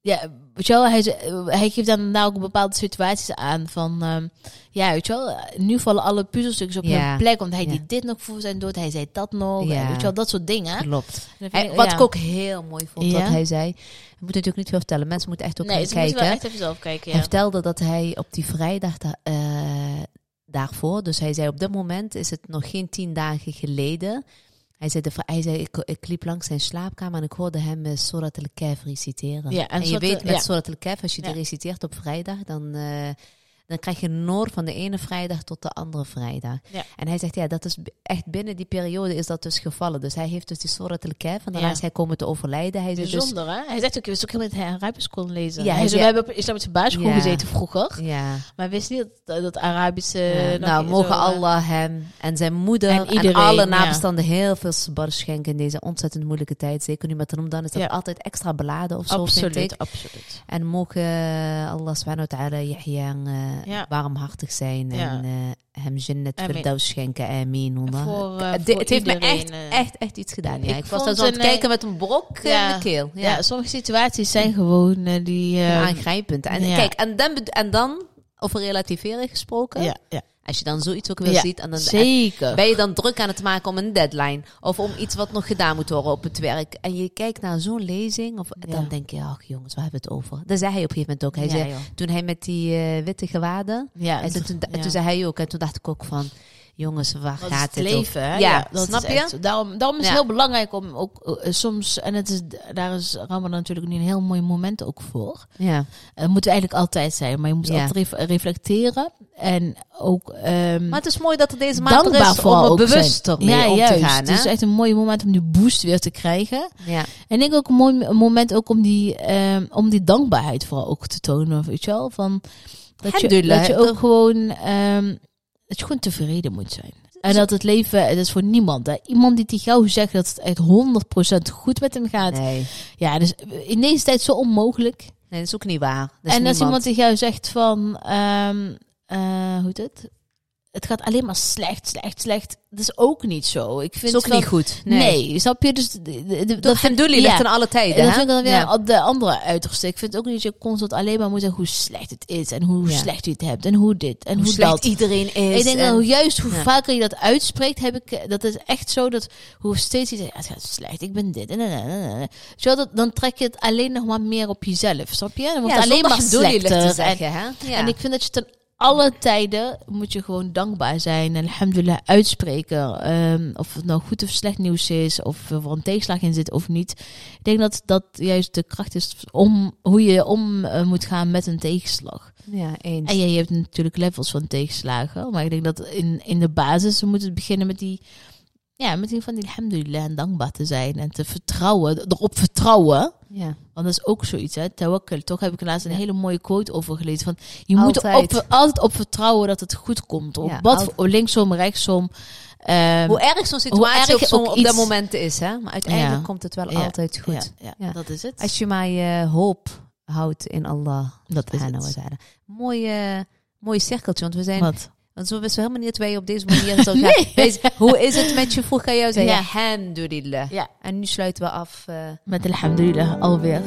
[SPEAKER 2] ja, weet je wel, hij, ze- hij geeft dan nou ook bepaalde situaties aan van... ehm, ja, weet je wel, nu vallen alle puzzelstukjes op
[SPEAKER 1] Ja.
[SPEAKER 2] hun plek. Want hij
[SPEAKER 1] Ja.
[SPEAKER 2] deed dit nog voor zijn dood, hij zei dat nog.
[SPEAKER 1] Ja.
[SPEAKER 2] en Weet je wel, dat soort dingen.
[SPEAKER 1] Klopt.
[SPEAKER 2] En dan vind
[SPEAKER 1] Hij-
[SPEAKER 2] ik-
[SPEAKER 1] wat
[SPEAKER 2] ja.
[SPEAKER 1] ik ook heel mooi vond,
[SPEAKER 2] Ja?
[SPEAKER 1] wat hij zei. Ik moet natuurlijk niet veel vertellen. Mensen moeten echt ook
[SPEAKER 2] nee, dus
[SPEAKER 1] gaan
[SPEAKER 2] ze moeten
[SPEAKER 1] kijken.
[SPEAKER 2] wel echt even zelf kijken.
[SPEAKER 1] Hij
[SPEAKER 2] Ja.
[SPEAKER 1] vertelde dat hij op die vrijdag da- eh, daarvoor, dus hij zei op dat moment is het nog geen tien dagen geleden. Hij zei, de, vri- hij zei ik, ik liep langs zijn slaapkamer en ik hoorde hem eh, Surat al-Kahf reciteren.
[SPEAKER 2] Ja, en
[SPEAKER 1] en, je
[SPEAKER 2] Surat-
[SPEAKER 1] weet met
[SPEAKER 2] ja.
[SPEAKER 1] Surat al-Kahf, als je die
[SPEAKER 2] Ja.
[SPEAKER 1] reciteert op vrijdag, dan, eh, dan krijg je noor van de ene vrijdag tot de andere vrijdag.
[SPEAKER 2] Ja.
[SPEAKER 1] En hij zegt, ja, dat is b- echt binnen die periode is dat dus gevallen. Dus hij heeft dus die Surat al-Kahf en daarna
[SPEAKER 2] Ja.
[SPEAKER 1] is hij komen te overlijden. Hij zei dus,
[SPEAKER 2] Bijzonder, hè? Hij zegt ook, je wist ook helemaal dat hij aan Arabisch kon lezen.
[SPEAKER 1] Ja,
[SPEAKER 2] Ja,
[SPEAKER 1] hij
[SPEAKER 2] hij zei,
[SPEAKER 1] zei-
[SPEAKER 2] we hebben op een islamitische basisschool
[SPEAKER 1] Ja.
[SPEAKER 2] gezeten vroeger.
[SPEAKER 1] ja.
[SPEAKER 2] Maar wist niet dat, dat Arabische...
[SPEAKER 1] Ja,
[SPEAKER 2] nog
[SPEAKER 1] nou,
[SPEAKER 2] zo,
[SPEAKER 1] mogen
[SPEAKER 2] eh,
[SPEAKER 1] Allah hem en zijn moeder
[SPEAKER 2] En
[SPEAKER 1] en,
[SPEAKER 2] iedereen,
[SPEAKER 1] alle
[SPEAKER 2] ja.
[SPEAKER 1] nabestaanden heel veel sabar schenken in deze ontzettend moeilijke tijd. Zeker nu met Ramadan is dat
[SPEAKER 2] Ja.
[SPEAKER 1] altijd extra beladen of zo, vind
[SPEAKER 2] Absoluut,
[SPEAKER 1] ik.
[SPEAKER 2] absoluut.
[SPEAKER 1] En mogen eh, Allah subhanahu wa ta'ala Yahya eh,
[SPEAKER 2] Ja.
[SPEAKER 1] warmhartig zijn en eh, hem jannat
[SPEAKER 2] Amin.
[SPEAKER 1] firdaus schenken. Amin. wallah.
[SPEAKER 2] Voor, eh,
[SPEAKER 1] het,
[SPEAKER 2] voor
[SPEAKER 1] het heeft me
[SPEAKER 2] iedereen,
[SPEAKER 1] echt,
[SPEAKER 2] eh.
[SPEAKER 1] echt, echt iets gedaan. Ja.
[SPEAKER 2] Ik
[SPEAKER 1] Ik, was
[SPEAKER 2] vond
[SPEAKER 1] daar zo aan het
[SPEAKER 2] een, eh,
[SPEAKER 1] kijken met een brok eh,
[SPEAKER 2] ja.
[SPEAKER 1] in de keel.
[SPEAKER 2] Ja.
[SPEAKER 1] Ja.
[SPEAKER 2] sommige situaties zijn gewoon eh, die... eh,
[SPEAKER 1] aangrijpend. En
[SPEAKER 2] ja.
[SPEAKER 1] kijk, en dan, bedo- en dan over relativeren gesproken.
[SPEAKER 2] ja, ja.
[SPEAKER 1] Als je dan zoiets ook weer
[SPEAKER 2] Ja,
[SPEAKER 1] ziet en dan
[SPEAKER 2] Zeker.
[SPEAKER 1] Ben je dan druk aan het maken om een deadline? Of om iets wat nog gedaan moet worden op het werk? En je kijkt naar zo'n lezing, of,
[SPEAKER 2] Ja.
[SPEAKER 1] dan denk je, ach jongens, waar hebben we het over? Daar zei hij op een gegeven moment ook. Hij
[SPEAKER 2] Ja,
[SPEAKER 1] zei,
[SPEAKER 2] joh.
[SPEAKER 1] toen hij met die eh, witte gewaden...
[SPEAKER 2] ja,
[SPEAKER 1] en toen, toen, en
[SPEAKER 2] ja.
[SPEAKER 1] toen zei hij ook, en toen dacht ik ook van... Jongens, waar
[SPEAKER 2] Dat is
[SPEAKER 1] gaat
[SPEAKER 2] het
[SPEAKER 1] dit
[SPEAKER 2] leven, hè?
[SPEAKER 1] over? Ja,
[SPEAKER 2] dat
[SPEAKER 1] snap
[SPEAKER 2] is
[SPEAKER 1] je?
[SPEAKER 2] echt zo. daarom, daarom is het
[SPEAKER 1] Ja.
[SPEAKER 2] heel belangrijk om ook eh, soms... En het is, daar is Ramadan natuurlijk nu een heel mooi moment ook voor.
[SPEAKER 1] Ja,
[SPEAKER 2] Dat moet eigenlijk altijd zijn, maar je moet
[SPEAKER 1] Ja.
[SPEAKER 2] altijd ref- reflecteren. En ook ehm
[SPEAKER 1] maar het is mooi dat er deze maand er
[SPEAKER 2] dankbaar
[SPEAKER 1] is om
[SPEAKER 2] vooral
[SPEAKER 1] er
[SPEAKER 2] ook
[SPEAKER 1] bewuster
[SPEAKER 2] zijn.
[SPEAKER 1] mee om te gaan.
[SPEAKER 2] Het
[SPEAKER 1] hè?
[SPEAKER 2] is echt een mooi moment om die boost weer te krijgen.
[SPEAKER 1] Dus, eh, ja.
[SPEAKER 2] En ik denk ook een mooi m- moment ook om die, ehm, om die dankbaarheid vooral ook te tonen. Weet je wel? Van, dat, je,
[SPEAKER 1] Alhamdulillah,
[SPEAKER 2] dat je
[SPEAKER 1] toch?
[SPEAKER 2] ook gewoon, ehm, dat je gewoon tevreden moet zijn. En dat het leven, het is voor niemand. Hè. Iemand die tegen jou zegt dat het echt 100% goed met hem gaat.
[SPEAKER 1] Nee.
[SPEAKER 2] Ja, dus in deze tijd zo onmogelijk
[SPEAKER 1] nee, dat is ook niet waar. Dat is
[SPEAKER 2] en
[SPEAKER 1] niemand.
[SPEAKER 2] als iemand tegen jou zegt van, ehm, eh, hoe heet het? Het gaat alleen maar slecht, slecht, slecht. Dat is ook niet zo. Ik vind
[SPEAKER 1] is ook
[SPEAKER 2] wel-
[SPEAKER 1] niet goed.
[SPEAKER 2] Nee.
[SPEAKER 1] Nee.
[SPEAKER 2] snap je? Dus de- de- de-
[SPEAKER 1] Dat
[SPEAKER 2] dat vind
[SPEAKER 1] Alhamdulillah
[SPEAKER 2] ja.
[SPEAKER 1] ligt aan alle
[SPEAKER 2] en
[SPEAKER 1] tijden.
[SPEAKER 2] dat
[SPEAKER 1] hè?
[SPEAKER 2] vind ik dan weer
[SPEAKER 1] Ja.
[SPEAKER 2] op de andere uiterste. Ik vind ook niet dat je constant alleen maar moet zeggen hoe slecht het is. En hoe
[SPEAKER 1] Ja.
[SPEAKER 2] slecht je het hebt. En hoe dit. En hoe,
[SPEAKER 1] Hoe slecht
[SPEAKER 2] dat.
[SPEAKER 1] iedereen is.
[SPEAKER 2] Ik denk
[SPEAKER 1] en-
[SPEAKER 2] dat hoe juist hoe
[SPEAKER 1] Ja.
[SPEAKER 2] vaker je dat uitspreekt, heb ik, eh, dat is echt zo dat hoe steeds iets, ja, het gaat slecht, ik ben dit. En, en, en, en, en. Weet je wel, dat, dan trek je het alleen nog maar meer op jezelf, snap je? Dan wordt het alleen maar
[SPEAKER 1] zonder bedoeling
[SPEAKER 2] slechter.
[SPEAKER 1] te
[SPEAKER 2] En,
[SPEAKER 1] zeggen, hè? Ja.
[SPEAKER 2] en ik vind dat je ten alle tijden moet je gewoon dankbaar zijn. En alhamdulillah uitspreken. Ehm, of het nou goed of slecht nieuws is. Of er een tegenslag in zit of niet. Ik denk dat dat juist de kracht is om hoe je om eh, moet gaan met een tegenslag.
[SPEAKER 1] Ja, eens.
[SPEAKER 2] En ja, je hebt natuurlijk levels van tegenslagen. Maar ik denk dat in, in de basis we moeten beginnen met die. Ja, met die van die alhamdulillah en dankbaar te zijn. En te vertrouwen, erop vertrouwen.
[SPEAKER 1] Ja.
[SPEAKER 2] Want dat is ook zoiets, hè? Tawakkul. Toch heb ik laatst een
[SPEAKER 1] Ja.
[SPEAKER 2] hele mooie quote over gelezen. Van, je moet
[SPEAKER 1] Altijd.
[SPEAKER 2] er op, altijd op vertrouwen dat het goed komt. Op
[SPEAKER 1] Ja,
[SPEAKER 2] wat
[SPEAKER 1] altijd.
[SPEAKER 2] voor- linksom, rechtsom. ehm,
[SPEAKER 1] Hoe erg zo'n situatie
[SPEAKER 2] erg
[SPEAKER 1] op, zo'n-
[SPEAKER 2] ook
[SPEAKER 1] op
[SPEAKER 2] iets-
[SPEAKER 1] dat moment is, hè? Maar uiteindelijk
[SPEAKER 2] Ja.
[SPEAKER 1] komt het wel
[SPEAKER 2] Ja.
[SPEAKER 1] altijd goed.
[SPEAKER 2] Ja, ja,
[SPEAKER 1] Ja.
[SPEAKER 2] dat is het.
[SPEAKER 1] Als je maar je hoop houdt in Allah.
[SPEAKER 2] dat is
[SPEAKER 1] subhanahu wa
[SPEAKER 2] het.
[SPEAKER 1] ta'ala. Mooi, eh, mooi cirkeltje, want we zijn...
[SPEAKER 2] Wat?
[SPEAKER 1] Want zo wisten we helemaal niet dat wij op deze manier zo gaan.
[SPEAKER 2] Nee.
[SPEAKER 1] Wees- hoe is het met je? Vroeg aan jou zeggen,
[SPEAKER 2] Ja.
[SPEAKER 1] alhamdulillah.
[SPEAKER 2] Ja.
[SPEAKER 1] En nu sluiten we af. eh,
[SPEAKER 2] Met alhamdulillah alweer.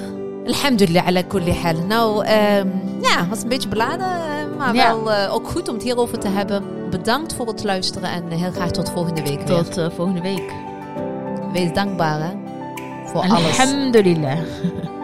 [SPEAKER 1] Alhamdulillah, ala kulli hal. Nou, ehm, ja, was een beetje beladen, eh, maar
[SPEAKER 2] Ja.
[SPEAKER 1] wel eh, ook goed om het hierover te hebben. Bedankt voor het luisteren en eh, heel graag tot volgende week weer.
[SPEAKER 2] Tot eh, volgende week.
[SPEAKER 1] Wees dankbaar hè, voor alles.
[SPEAKER 2] Alhamdulillah.